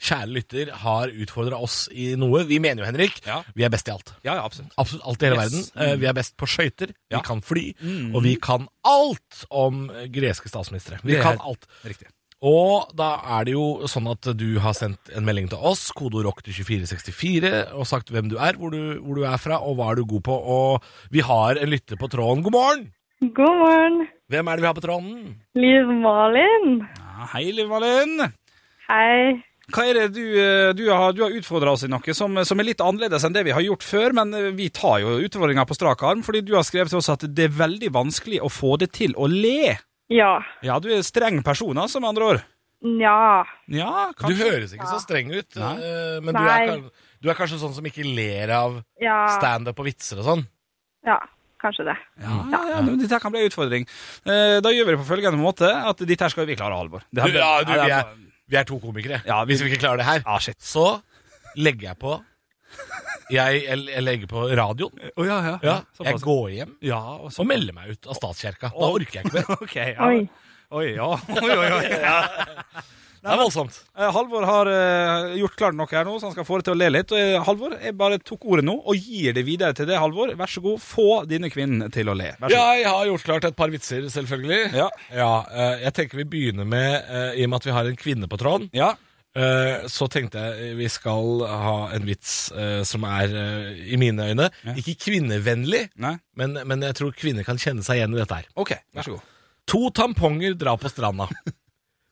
S4: kjære lytter, har utfordra oss i noe. Vi mener jo, Henrik,
S3: Ja.
S4: vi er best i alt.
S3: Ja, ja, absolutt.
S4: Absolutt alt i
S3: Yes.
S4: hele
S3: Mm.
S4: verden. Eh, Vi er best på skøyter,
S3: Ja. Mm.
S4: vi kan fly, og vi kan alt om eh, greske statsministre. Vi
S3: Det er-
S4: kan alt.
S3: Riktig.
S4: Og da er det jo sånn at du har sendt en melding til oss, kodeord rock til 2464, og sagt hvem du er, hvor du, hvor du er fra, og hva er du god på. Og vi har en lytter på tråden. God morgen!
S5: God morgen,
S4: Hvem er det vi har på tråden?
S5: Liv Malin.
S3: Ja, Ah, hei, Liv Malin.
S5: Hei.
S3: Hva er det du, eh, du har, du har utfordra oss i noe som, som er litt annerledes enn det vi har gjort før, men eh, vi tar jo utfordringa på strak arm, fordi du har skrevet til oss at det er veldig vanskelig å få det til å le.
S5: Ja.
S3: Ja, du er streng person, altså, med andre ord.
S5: Nja.
S3: Ja,
S4: Du
S3: kanskje.
S4: høres ikke så streng ut,
S3: Nei.
S4: eh, men du er,
S5: Nei.
S4: kan- du er kanskje sånn som ikke ler av
S5: Ja.
S4: standup og vitser og sånn.
S5: ja. Kanskje det.
S3: Ja, ja, ja, men dette her kan bli en utfordring. Eh, Da gjør vi det på følgende måte, at dette her skal vi klare, Halvor. Det her
S4: Du,
S3: blir-
S4: ja, du,
S3: det
S4: vi,
S3: her-
S4: er, vi er to komikere.
S3: Ja, vi-
S4: Hvis vi ikke klarer det her,
S3: Ah, shit.
S4: så legger jeg på Jeg, jeg, jeg legger på radioen.
S3: Å, ja, ja.
S4: Ja, jeg
S3: såpass.
S4: går hjem.
S3: Ja, og så
S4: og melde meg ut av statskirka. Da
S3: Åh.
S4: orker jeg ikke mer.
S3: Ok, ja.
S5: Oi.
S3: Oi, ja. Oi, oi, oi.
S4: Det er voldsomt.
S3: Eh, Halvor har eh, gjort klart noe her nå, så han skal få det til å le litt. Og, eh, Halvor, jeg bare tok ordet nå og gir det videre til deg, Halvor. Vær så god, få denne kvinnen til å le. Vær så god.
S4: Jeg har gjort klart et par vitser, selvfølgelig.
S3: Ja.
S4: eh, jeg tenker vi begynner med, eh, i og med at vi har en kvinne på tråden,
S3: Ja.
S4: eh, så tenkte jeg vi skal ha en vits eh, som er, eh, i mine øyne,
S3: Ja.
S4: ikke kvinnevennlig,
S3: Nei?
S4: men, men jeg tror kvinner kan kjenne seg igjen i dette her.
S3: OK, vær så god.
S4: To tamponger drar på stranda.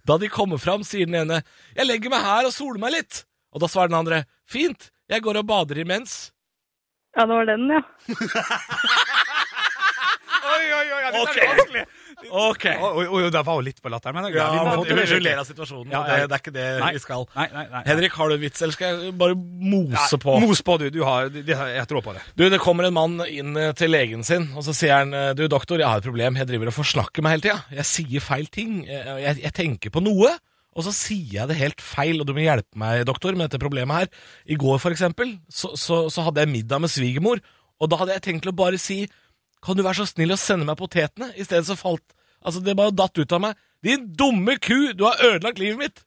S4: Da de kommer fram, sier den ene 'Jeg legger meg her og soler meg litt'. Og da svarer den andre 'Fint, jeg går og bader imens'.
S5: Ja, det var den, ja.
S3: Oi, oi, oi, ja,
S4: dette er Ok.
S3: Oi, oi, oi, der var jo litt på latteren, men det er
S4: Ja,
S3: greit. Vi må få
S4: men
S3: til
S4: vi
S3: det.
S4: ler av situasjonen,
S3: Ja,
S4: og
S3: ja.
S4: det, det er ikke det
S3: Nei.
S4: vi skal.
S3: Nei, nei, nei.
S4: Henrik, har du en vits, eller skal jeg bare mose på?
S3: Mos på, du. du har, det- det har, jeg tror på det.
S4: Du, Det kommer en mann inn eh, til legen sin, og så sier han eh, Du, doktor, jeg har et problem. Jeg driver og forsnakker meg hele tida. Jeg sier feil ting. Eh, Jeg, jeg tenker på noe, og så sier jeg det helt feil. Og du må hjelpe meg, doktor, med dette problemet her. I går, for eksempel, så, så, så hadde jeg middag med svigermor, og da hadde jeg tenkt til å bare si Kan du være så snill å sende meg potetene? I stedet så falt Altså, det bare datt ut av meg. Din dumme ku! Du har ødelagt livet mitt!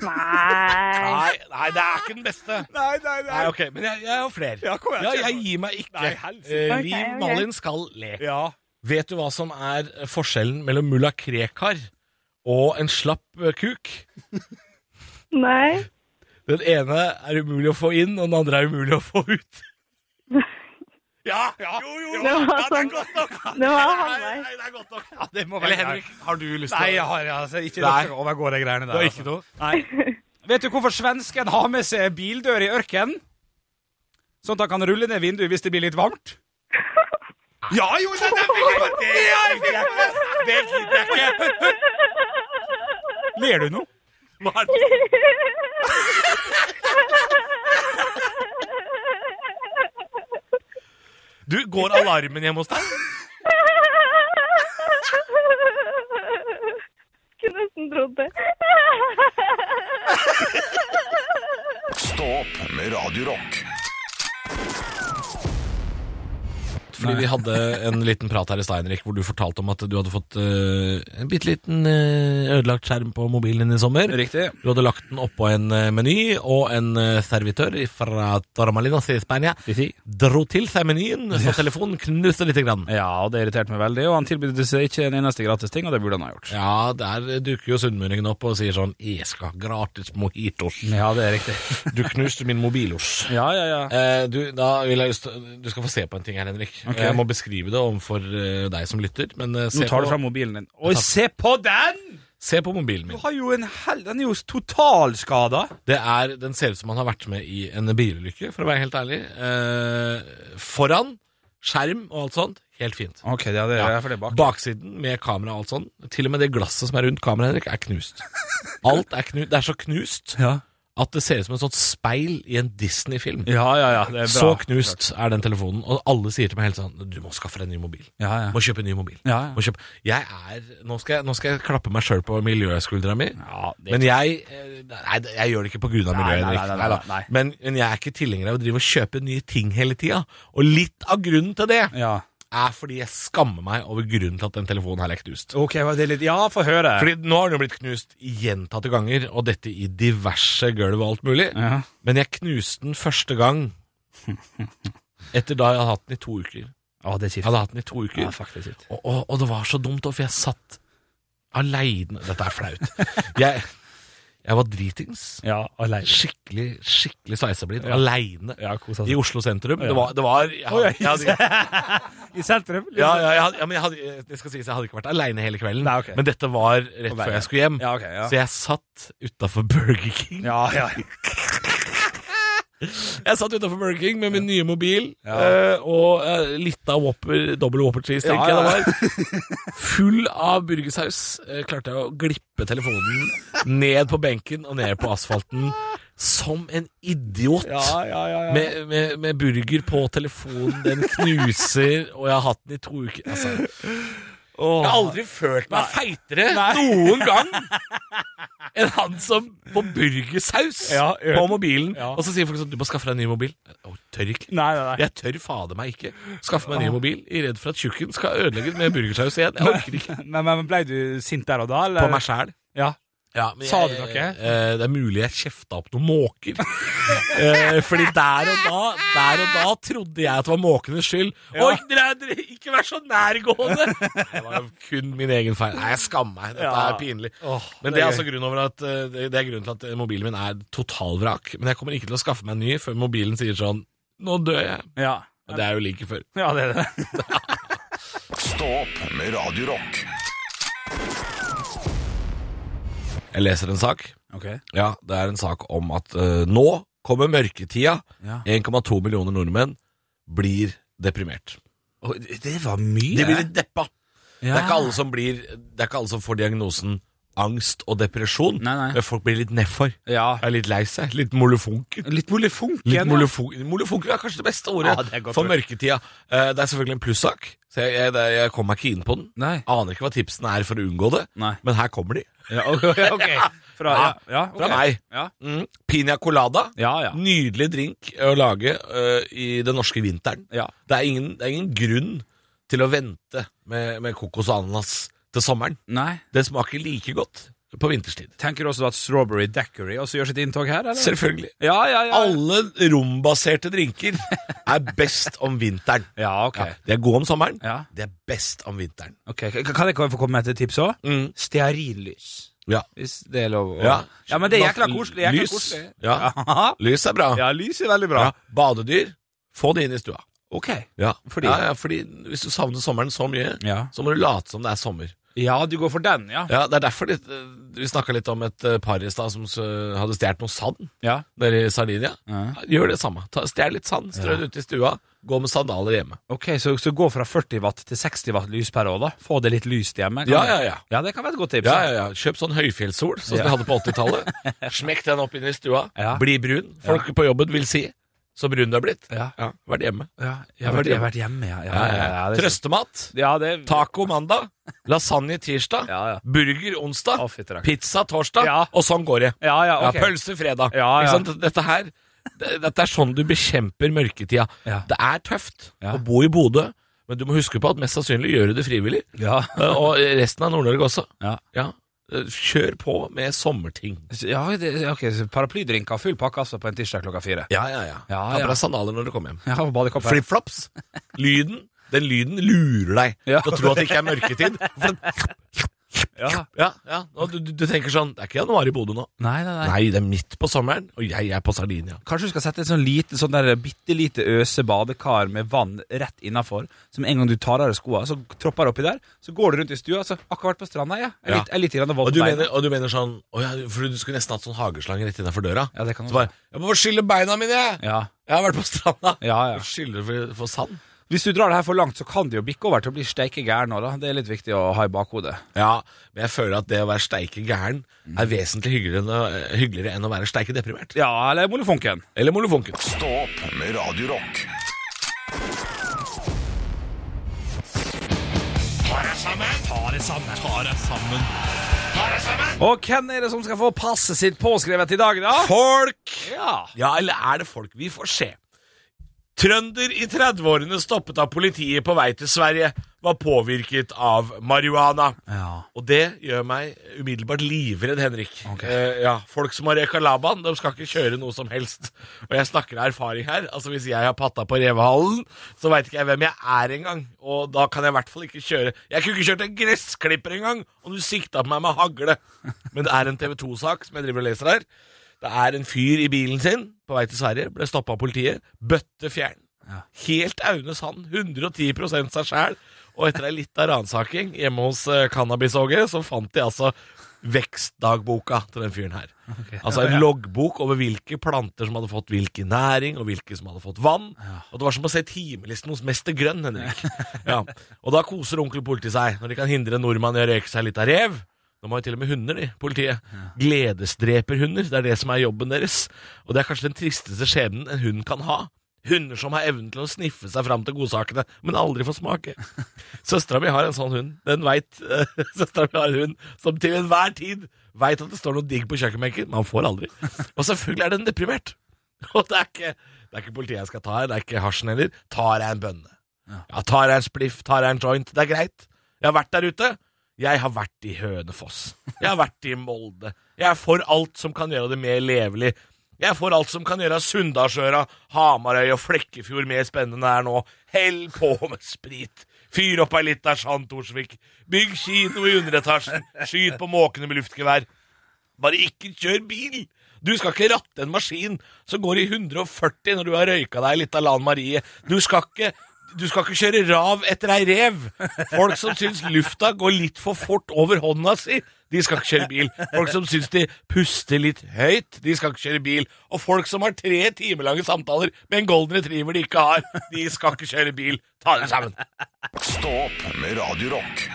S5: Nei.
S4: Nei, nei, det er ikke den beste.
S3: Nei, nei,
S4: Nei, ok, Men jeg, jeg har flere.
S3: Ja, kom igjen, kjør
S4: jeg
S3: på.
S4: gir meg ikke.
S3: Nei, helsike.
S4: Eh,
S5: Ok,
S4: Liv
S5: ok.
S4: Malin skal le.
S3: Ja.
S4: Vet du hva som er forskjellen mellom mulla Krekar og en slapp eh, kuk?
S5: Nei.
S4: Den ene er umulig å få inn, og den andre er umulig å få ut. Ja! Jo, jo!
S5: Det var sånn. Det var halvveis.
S4: Nei, det er godt nok.
S3: ja, det må være
S4: Eller Henrik, har du lyst
S3: Nei,
S4: til
S3: jeg har altså ikke
S4: Nei.
S3: noe overgår de greiene der. altså.
S4: Det er ikke noe?
S3: Nei. Vet du hvorfor svensken har med seg bildør i ørkenen? Sånn at han kan rulle ned vinduet hvis det blir litt varmt? Ja, jo, det er
S4: Det gidder jeg ikke.
S3: Ler du nå?
S4: Hva er det? Du, går alarmen hjemme hos deg?
S5: Kunne nesten trodd det.
S1: Stå opp med Radio Rock.
S4: Fordi vi hadde en liten prat her i Steinrik hvor du fortalte om at du hadde fått eh, en bitte liten eh, ødelagt skjerm på mobilen din i sommer.
S3: Riktig.
S4: Du hadde lagt den oppå en eh, meny, og en eh, servitør fra Torremolinos i Spania dro til seg menyen, så telefonen knuste lite grann.
S3: Ja, og det irriterte meg veldig, og han tilbød seg ikke en eneste gratis ting, og det burde han ha gjort.
S4: Ja, der dukker jo sunnmøringen opp og sier sånn Jeg skal gratis mojitos.
S3: Ja, det er riktig.
S4: Du knuste min mobilos.
S3: Ja, ja, ja.
S4: Eh, du, da vil jeg lyst til- Du skal få se på en ting her, Henrik.
S3: Ok.
S4: Jeg må beskrive det overfor eh, deg som lytter. Men eh, se,
S3: Nå tar
S4: på,
S3: du fram mobilen din. Oi, se på den!
S4: se på mobilen min.
S3: Du har jo en hel... Den er jo totalskada.
S4: Det er, den ser ut som han har vært med i en bilulykke, for å være helt ærlig. Eh, foran, skjerm og alt sånt, helt fint.
S3: Ok, ja, det
S4: Ja.
S3: er for det bak.
S4: Baksiden med kamera og alt sånn. Til og med det glasset som er rundt kameraet, Henrik, er knust. Alt er knust. Det er så knust
S3: Ja.
S4: at det ser ut som et sånt speil i en Disney-film.
S3: ja, ja, ja, det er bra.
S4: Så knust er den telefonen, og alle sier til meg hele tiden Du må skaffe deg en ny mobil.
S3: Ja, ja.
S4: Må kjøpe en ny mobil.
S3: Ja,
S4: Må
S3: ja.
S4: kjøpe. Jeg er, nå, skal jeg, nå skal jeg klappe meg sjøl på miljøskuldra mi.
S3: ja det
S4: Men jeg eh, Nei, jeg gjør det ikke på grunn av
S3: Nei,
S4: miljøet.
S3: nei,
S4: Henrik.
S3: nei, nei,
S4: Neida.
S3: nei.
S4: Men, men jeg er ikke tilhenger av å drive og kjøpe nye ting hele tida. Og litt av grunnen til det
S3: Ja.
S4: er fordi jeg skammer meg over grunnen til at den telefonen her er knust.
S3: Ok, var det litt... Ja, få høre.
S4: Fordi nå har den jo blitt knust gjentatte ganger, og dette i diverse gulv og alt mulig.
S3: Ja.
S4: Men jeg knuste den første gang etter da jeg hadde hatt den i to uker.
S3: Å, det er
S4: Jeg
S3: kjipt.
S4: hadde hatt den i to uker.
S3: Ja, fuck, det er kjipt.
S4: Og, og, og det var så dumt, da, for jeg satt aleine Dette er flaut. Jeg, jeg var dritings.
S3: Ja, alene.
S4: Skikkelig skikkelig sveiseblind.
S3: Ja.
S4: Aleine
S3: Ja, kosa
S4: i
S3: seg.
S4: Oslo sentrum.
S3: Ja.
S4: Det var, det var jeg,
S3: Oi,
S4: hadde, jeg, hadde,
S3: I sentrum? liksom.
S4: ja, ja, jeg, hadde, ja, men jeg, hadde, det skal sies, jeg hadde ikke vært aleine hele kvelden,
S3: Nei, ok.
S4: men dette var
S3: På vei
S4: rett før
S3: hjem.
S4: jeg skulle hjem.
S3: Ja, ok, ja.
S4: Så jeg satt utafor Burger King.
S3: Ja, ja.
S4: Jeg satt utenfor Burger King med min nye mobil
S3: Ja.
S4: eh, og eh, litt av Whopper, dobbel Whopper cheese,
S3: Ja,
S4: tenker
S3: ja.
S4: jeg det var. Full av burgersaus eh, klarte jeg å glippe telefonen ned på benken og ned på asfalten som en idiot.
S3: Ja, ja, ja, ja.
S4: Med, med, med burger på telefonen, den knuser, og jeg har hatt den i to uker. Altså, jeg har aldri følt meg feitere noen gang enn han som får burgersaus
S3: Ja, ø-
S4: på mobilen.
S3: Ja.
S4: Og så sier folk sånn Du må skaffe deg en ny mobil. Å, tør ikke.
S3: Nei, nei, nei.
S4: Jeg tør fader meg ikke skaffe meg en ny mobil. Jeg er redd for at tjukken skal ødelegge den med burgersaus igjen. Jeg orker ikke.
S3: Men, men ble du sint der og da? Eller?
S4: På meg sjæl.
S3: Ja. Sa du noe?
S4: Eh, det er mulig jeg kjefta opp noen måker. eh, fordi der og, da, der og da trodde jeg at det var måkenes skyld. Oi, dere, er- dere, ikke vær så nærgående! Nei, det var jo kun min egen feil. Nei, jeg skammer meg. Dette
S3: Ja.
S4: er pinlig.
S3: Åh,
S4: Men det er, altså grunnen over at, eh, det- det er grunnen til at eh, mobilen min er totalvrak. Men jeg kommer ikke til å skaffe meg en ny før mobilen sier sånn Nå dør jeg.
S3: Ja.
S4: Og det er jo like før.
S3: ja, det er det.
S1: Stå opp med Radio Rock.
S4: Jeg leser en sak.
S3: Ok.
S4: Ja, det er en sak om at eh, nå kommer mørketida.
S3: Ja.
S4: 1,2 millioner nordmenn blir deprimert.
S3: Oi, det var mye.
S4: De blir deppa.
S3: Ja.
S4: Det, er ikke alle som blir, det er ikke alle som får diagnosen angst og depresjon.
S3: Nei, nei.
S4: Men folk blir litt nedfor.
S3: Ja.
S4: Er litt lei seg. Litt molefonken.
S3: Litt molefonken.
S4: Litt molefo- molefonken er kanskje det beste ordet
S3: Ja, det er godt
S4: for
S3: ord.
S4: mørketida. Eh, Det er selvfølgelig en plussak, så jeg, jeg, det- jeg kommer meg ikke inn på den.
S3: Nei.
S4: Aner ikke hva tipsene er for å unngå det,
S3: Nei.
S4: men her kommer de.
S3: Ja, ok. ok. Fra, ja, ja, ok.
S4: Fra meg.
S3: Ja.
S4: Mm. Piña colada.
S3: Ja, ja.
S4: Nydelig drink å lage eh, i den norske vinteren.
S3: Ja.
S4: Det er ingen, det er ingen grunn til å vente med, med kokos og ananas til sommeren.
S3: Nei.
S4: Det smaker like godt på vinterstid.
S3: Tenker du også at strawberry daiquiri også gjør sitt inntog her, eller?
S4: Selvfølgelig.
S3: Ja, ja, ja.
S4: Alle rombaserte drinker er best om vinteren.
S3: Ja, ok.
S4: Ja, de er gode om sommeren,
S3: Ja.
S4: de er best om vinteren.
S3: Ok, Kan kan jeg få komme med et tips òg?
S4: Mm.
S3: Stearinlys.
S4: Ja.
S3: Hvis det er lov å
S4: Ja.
S3: ja, men det er jækla koselig. Jækla
S4: Lys.
S3: koselig.
S4: Ja.
S3: Ja.
S4: Lys er bra.
S3: ja, lys er veldig bra.
S4: Ja. Badedyr, få det inn i stua.
S3: Ok.
S4: Ja.
S3: Fordi-
S4: Ja, ja, fordi hvis du savner sommeren så mye,
S3: Ja.
S4: så må du late som det er sommer.
S3: ja, du går for den, ja.
S4: Ja, Det er derfor det, vi snakka litt om et eh, par i stad som eh, hadde stjålet noe sand
S3: Ja.
S4: nede i Sardinia.
S3: Ja.
S4: Gjør det samme. Ta- Stjel litt sand, strø det ut i stua, gå med sandaler hjemme.
S3: Ok, så, så gå fra 40 watt til 60 watt lyspære òg, da. Få det litt lyst hjemme. kan
S4: Ja,
S3: det-
S4: ja, ja.
S3: Ja, det kan være et godt tips.
S4: Ja,
S3: da.
S4: ja, ja. Kjøp sånn høyfjellssol, sånn som
S3: Ja.
S4: vi hadde på 80-tallet. Smekk den opp inn i stua.
S3: Ja.
S4: Bli brun. Folk på jobben vil si så brun du er blitt.
S3: Ja.
S4: Ja, Vært hjemme.
S3: Ja, jeg, har vært, jeg har vært hjemme, ja. ja, ja, ja, det er sant.
S4: Trøstemat.
S3: Ja, det
S4: Taco mandag. Lasagne tirsdag.
S3: Ja, ja.
S4: Burger onsdag.
S3: Å, fytti rakkeren.
S4: pizza torsdag.
S3: Ja.
S4: Og sånn går det.
S3: Ja, ja, ok.
S4: Ja, pølse fredag.
S3: Ja,
S4: Ikke
S3: ja.
S4: sant? Dette her det- Dette er sånn du bekjemper mørketida.
S3: Ja.
S4: Det er tøft
S3: Ja.
S4: å bo i Bodø. Men du må huske på at mest sannsynlig gjør du det frivillig.
S3: Ja.
S4: Eh, Og resten av Nord-Norge også.
S3: Ja.
S4: Eh, Kjør på med sommerting.
S3: ja det, ok, så Paraplydrinker, full pakke altså på en tirsdag klokka fire.
S4: Ja, ja, ja.
S3: Ja,
S4: Ta
S3: ja.
S4: på deg sandaler når du kommer hjem.
S3: Ja, og badekopp her.
S4: Flipflops. Lyden. Den lyden lurer deg
S3: Ja.
S4: til å tro at det ikke er mørketid. For den-
S3: Ja.
S4: Ja, ja. Og du, du, du tenker sånn Det er ikke januar i Bodø nå.
S3: Nei, nei, nei.
S4: Nei, det er midt på sommeren, og jeg er på Sardinia.
S3: Kanskje du skal sette et sånn lite, sånn der bitte lite øse badekar med vann rett innafor, som en gang du tar av deg skoa, så tropper det oppi der, så går du rundt i stua, så akkurat på stranda, ja. Er
S4: Ja.
S3: litt, er litt grann våt
S4: Og
S3: på
S4: du,
S3: beina.
S4: mener, og du mener sånn å ja, For du skulle nesten hatt sånn hageslange rett innenfor døra.
S3: Ja, det kan
S4: Så
S3: du.
S4: bare Jeg må få skylle beina mine, jeg!
S3: Ja.
S4: Jeg har vært på stranda.
S3: Ja, ja.
S4: Skylle for, for sand?
S3: Hvis du drar det her for langt, så kan det jo bikke over til å bli steike gæren òg, da. Det er litt viktig å ha i bakhodet.
S4: Ja, men jeg føler at det å være steike gæren er vesentlig hyggeligere enn å, eh, hyggeligere enn å være steike deprimert.
S3: Ja, eller molefonken.
S4: Eller molefonken.
S1: Stå opp med Radio Rock.
S3: Og hvem er det som skal få passet sitt påskrevet i dag, da?
S4: Folk!
S3: Ja.
S4: Ja, eller er det folk? Vi får se. Trønder i 30-årene stoppet av politiet på vei til Sverige var påvirket av marihuana.
S3: ja.
S4: Og det gjør meg umiddelbart livredd, Henrik.
S3: Ok.
S4: Eh, ja, folk som har røyka laban, de skal ikke kjøre noe som helst. Og jeg snakker av erfaring her. Altså Hvis jeg har patta på revehalen, så veit ikke jeg hvem jeg er engang. Og da kan jeg i hvert fall ikke kjøre Jeg kunne ikke kjørt en gressklipper engang om du sikta på meg med hagle. Men det er en TV 2-sak som jeg driver og leser her. Det er en fyr i bilen sin på vei til Sverige, ble stoppa av politiet. Bøtte fjern.
S3: Ja.
S4: Helt Aune Sand, 110 seg sjæl. Og etter ei lita ransaking hjemme hos eh, Cannabisogget, så fant de altså vekstdagboka til den fyren her. Altså en loggbok over hvilke planter som hadde fått hvilken næring, og hvilke som hadde fått vann. Og det var som å se timelisten hos Mester Grønn, Henrik. Ja. Og da koser onkel politi seg, når de kan hindre en nordmann i å røyke seg litt av rev. De har jo til og med hunder, de, politiet. Gledesdreperhunder. Det er det som er jobben deres. Og det er kanskje den tristeste skjebnen en hund kan ha. Hunder som har evnen til å sniffe seg fram til godsakene, men aldri får smake. Søstera mi har en sånn hund. Den veit Søstera mi har en hund som til enhver tid veit at det står noe digg på kjøkkenbenken, men han får aldri. Og selvfølgelig er den deprimert. Og det er ikke, det er ikke politiet jeg skal ta her, det er ikke hasjen heller. Tar jeg en bønne? Ja, tar jeg en spliff, tar jeg en joint? Det er greit. Jeg har vært der ute. Jeg har vært i Hønefoss. Jeg har vært i Molde. Jeg er for alt som kan gjøre det mer levelig. Jeg er for alt som kan gjøre Sunndalsøra, Hamarøy og Flekkefjord mer spennende enn det er nå. Hell på med sprit. Fyr opp ei lita Jean Thorsvik. Bygg kino i underetasjen. Skyt på måkene med luftgevær. Bare ikke kjør bil! Du skal ikke ratte en maskin som går i 140 når du har røyka deg litt av Lan Marie. Du skal ikke du skal ikke kjøre rav etter ei rev. Folk som syns lufta går litt for fort over hånda si, de skal ikke kjøre bil. Folk som syns de puster litt høyt, de skal ikke kjøre bil. Og folk som har tre timelange samtaler med en golden retriever de ikke har, de skal ikke kjøre bil. Ta dere sammen.
S1: Stå opp med Radio Rock.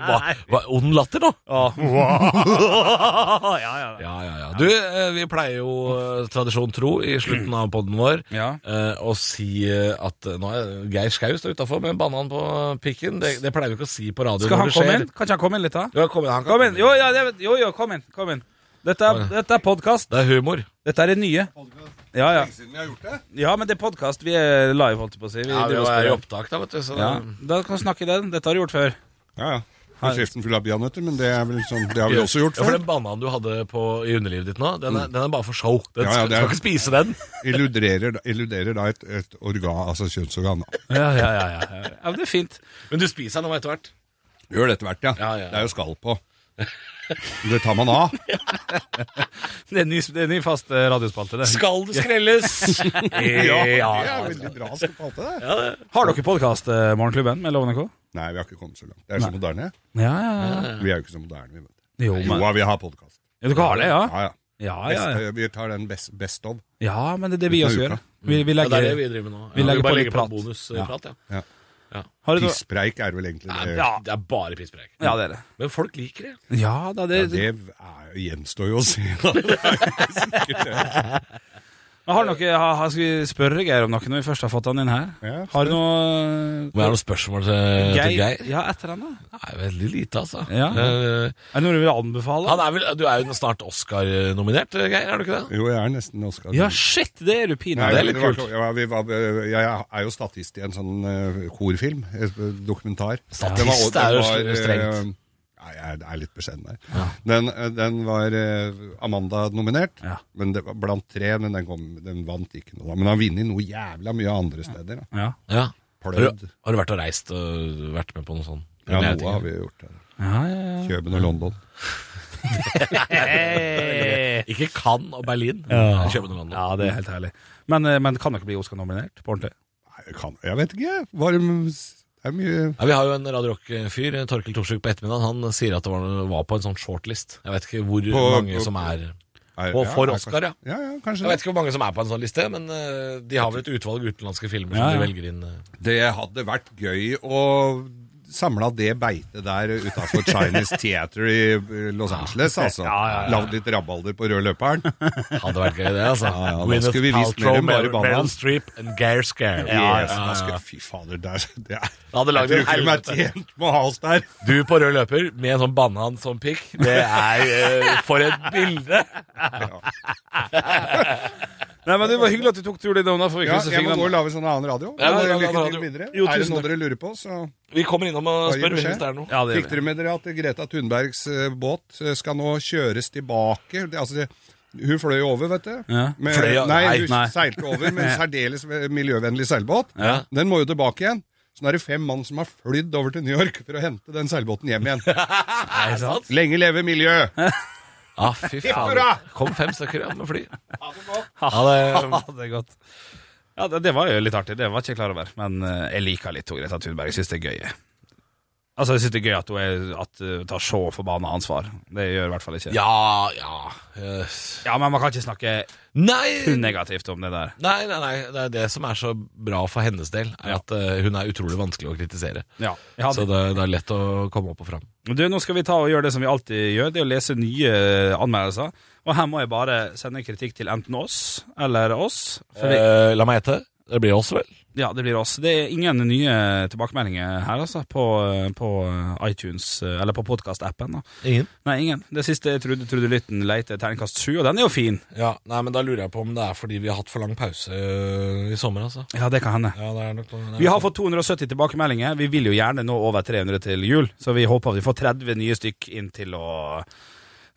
S4: Hva, hva, ond latter nå?
S3: ja, ja, ja.
S4: Ja, ja, ja. Du, eh, vi pleier jo eh, tradisjon tro i slutten av podden vår
S3: Ja.
S4: eh, å si eh, at eh, nå er Geir Skau står utafor med en banan på pikken. Det, det pleier vi ikke å si på radio.
S3: Skal
S4: når
S3: han
S4: det
S3: komme
S4: skjer.
S3: inn? Kan ikke han komme inn litt, da?
S4: Ja, kom inn, han kan
S3: Kom
S4: komme
S3: inn. Jo, ja, det, jo, jo, kom inn. Kom inn. Dette er, dette er podkast.
S4: Det er humor.
S3: Dette er det nye. Ja, ja.
S6: siden vi har gjort det.
S3: ja, men det er podkast. Vi er live, holdt jeg på å si. Vi,
S4: Ja, vi
S3: driver og
S4: er i
S3: spiller.
S4: opptak, da, vet du. Så
S3: ja. Da kan du snakke i den. Dette har du gjort før.
S6: Ja, ja. Har Kjeften full av peanøtter, men det, er vel sånn, det har vi også gjort
S4: Ja, for
S6: før.
S4: Den bananen du hadde på, i underlivet ditt nå, den er, den er bare for show. Den
S6: Ja, ja,
S4: skal,
S6: det er-
S4: skal ikke spise den.
S6: Illuderer, illuderer da et, et organ, altså kjønnsorgan.
S3: Ja, ja, ja. ja. ja men det er fint.
S4: Men du spiser den nå etter hvert.
S6: Gjør det etter hvert, ja.
S4: Ja, ja, ja.
S6: Det er jo skall på. Det tar man av.
S3: Det er ny, det er ny fast eh, radiospalte, det.
S4: Skal det skrelles? ja,
S6: Det
S4: ja.
S6: er veldig bra skal på alt det der.
S3: Har dere podkast, eh, Morgenklubben, med Loven og Co.?
S6: Nei, vi har ikke kommet så langt. Det er så moderne.
S3: Ja, ja, ja.
S6: Vi er jo ikke så moderne, vi. vet du.
S3: Jo,
S6: Jo,
S3: men
S6: ja, vi har podkast.
S3: ja, Dere har det, ja?
S6: Ja, ja.
S3: Ja, ja,
S6: Best,
S3: ja.
S6: eh, vi tar den best, best of.
S3: ja men det er det vi
S6: Resten av
S3: også
S6: uka.
S3: gjør. Vi, vi
S4: Ja, det er det
S3: legger
S4: vi driver med nå. Ja,
S3: Vi legger
S4: bare
S3: på litt
S4: legger på
S3: prat.
S4: bonusprat, ja.
S3: Har du noe
S6: Pisspreik er vel egentlig
S4: Nei,
S6: det.
S4: ja. Det er bare pisspreik.
S3: Ja, det er det.
S4: Men folk liker det.
S3: Ja, da, det,
S6: Ja, det er, gjenstår jo å se. da.
S3: Men Har dere, ha, ha, skal vi spørre Geir om noe når vi først har fått han inn her?
S6: Ja,
S3: har du noe
S4: Men er det noen spørsmål til Geir? Til Geir?
S3: Ja, etter han, da.
S4: Nei, veldig lite, altså.
S3: Ja.
S4: Eh,
S3: Er det noe du vil anbefale?
S4: han er vel, du er jo snart Oscar-nominert, eh, Geir? er du ikke det?
S6: Jo, jeg er nesten Oscar.
S3: Ja, shit! Det er du pinadø.
S6: Nei,
S4: det er litt
S6: var
S4: kult.
S6: ikke- Ja, vi var, jeg er jo statist i en sånn eh, korfilm, et dokumentar.
S4: Statist
S6: Den
S4: er jo
S6: den var,
S4: strengt.
S6: eh, Nei, jeg er- jeg er litt beskjeden der. Den, eh, den var eh, Amanda-nominert,
S3: Ja.
S6: men det var blant tre, men den, kom, den vant ikke noe. da. Men han har vunnet noe jævla mye andre steder. Da.
S3: Ja.
S4: Ja. Har du,
S6: Pløyd.
S4: har du vært og reist og vært med på noe sånt?
S6: Ja,
S4: Jeg vet
S6: noe har
S4: ikke.
S6: vi gjort. Der.
S3: Ja, ja,
S6: Køben og London.
S3: ja.
S4: Ikke Cannes og Berlin.
S3: Eh, Ja.
S4: København.
S3: ja, det er helt herlig. Men, eh, men kan dere bli Oscar-nominert på ordentlig?
S6: Nei, jeg kan, jeg vet ikke. Var det, det er mye
S4: Ja, vi har jo en Radio Rock-fyr, eh, Torkel Torsvik, på ettermiddagen. Han sier at det var, var på en sånn shortlist. Jeg vet ikke hvor
S6: På-
S4: mange
S6: på-
S4: som er
S6: Nei,
S4: Og for
S6: nei,
S4: Oscar, Eh, ja.
S6: kanskje- Ja, ja, kanskje
S4: Jeg vet ikke hvor mange som er på en sånn liste, men eh, de har vel et utvalg utenlandske filmer som
S3: Ja, ja.
S4: de velger inn. eh.
S6: Det hadde vært gøy å samla det beitet der utafor Chinese Theater i eh, Los Angeles, altså. Lagd litt rabalder på rød løperen.
S4: Hadde vært gøy, det, altså.
S6: Ja, ja, da
S4: Gwyneth
S6: skulle vi vist mer enn bare
S4: Meryl-
S6: banan.
S4: Meryl Streep and Geir Scare.
S6: Yes, da skal- Fy fader, der, det er
S4: Hadde
S6: Jeg
S4: lagd
S6: tror
S4: en
S6: ikke de er
S4: helvete.
S6: tjent med å ha oss der.
S4: Du på rød løper med en sånn banan som pikk, det er eh, for et bilde!
S3: Nei, men Det var hyggelig at du tok turen innom. da, for vi
S6: Ja,
S3: krysser
S6: jeg må gå og
S3: fingrene.
S6: lage sånn annen radio.
S4: Ja,
S6: Men,
S4: ja, ja,
S6: Lykke
S4: ja,
S6: til
S4: radio.
S6: videre.
S3: Jo,
S6: er det
S3: tusen
S6: noe
S3: takk.
S6: dere lurer på, så
S4: Vi kommer innom og
S6: Bare gi
S4: spør
S6: beskjed.
S4: hvis det er noe.
S3: Ja, det
S6: Fikk
S3: gjør vi.
S6: dere med dere at Greta Thunbergs eh, båt eh, skal nå kjøres tilbake? Det, altså, det, hun fløy jo over, vet du.
S3: Ja.
S6: Med,
S4: Fløy, ja.
S6: nei,
S4: Nei,
S6: hun
S3: nei.
S6: seilte over med en særdeles eh, miljøvennlig seilbåt.
S4: Ja.
S6: Den må jo tilbake igjen. Så nå er det fem mann som har flydd over til New York for å hente den seilbåten hjem igjen.
S4: Er det sant?
S6: Lenge leve miljø!
S4: Ja, fy faen.
S6: hurra!
S4: Kom fem stykker ja, med fly.
S3: Ha det er godt. Ja, det, det var jo litt artig. Det var ikke jeg klar over. Men eh, jeg liker litt hun Greta Thunberg. Jeg syns det er gøy. Altså, jeg syns det er gøy at hun er, at, eh, tar så forbanna ansvar. Det gjør i hvert fall ikke
S4: Ja, ja yes.
S3: Ja, men man kan ikke snakke
S4: Nei,
S3: kun negativt om det der.
S4: Nei, nei, nei, det er det som er så bra for hennes del, er at eh, hun er utrolig vanskelig å kritisere.
S3: Ja, jeg hadde
S4: Så det, det er lett å komme opp og fram.
S3: Du, Nå skal vi ta og gjøre det som vi alltid gjør, det er å lese nye eh, anmeldelser. Og her må jeg bare sende kritikk til enten oss eller oss. For vi,
S4: Eh, la meg gjette. Det blir oss, vel?
S3: ja, det blir oss. Det er ingen nye tilbakemeldinger her, altså, på, på eh, iTunes, eller på podkastappen.
S4: Ingen?
S3: Nei, ingen. Det siste er Trude, Trude Lytten leter terningkast sju, og den er jo fin.
S4: Ja, nei, men Da lurer jeg på om det er fordi vi har hatt for lang pause eh, i sommer. altså
S3: Ja, det kan hende.
S4: Ja, det er nok noe-
S3: Vi har fått 270 tilbakemeldinger. Vi vil jo gjerne nå over 300 til jul, så vi håper vi får 30 nye stykk inn til å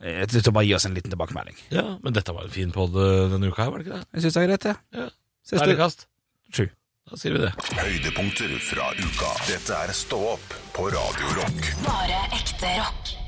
S3: eh, til å bare gi oss en liten tilbakemelding.
S4: Ja, Men dette var en fin pod denne uka, her, var det ikke det?
S3: Jeg syns det er greit, det.
S4: Ja.
S3: Ses du-
S4: Terningkast
S3: Sju.
S4: Da sier vi det.
S1: Høydepunkter fra uka. Dette er Stå opp på Radio Rock.
S2: Bare ekte rock.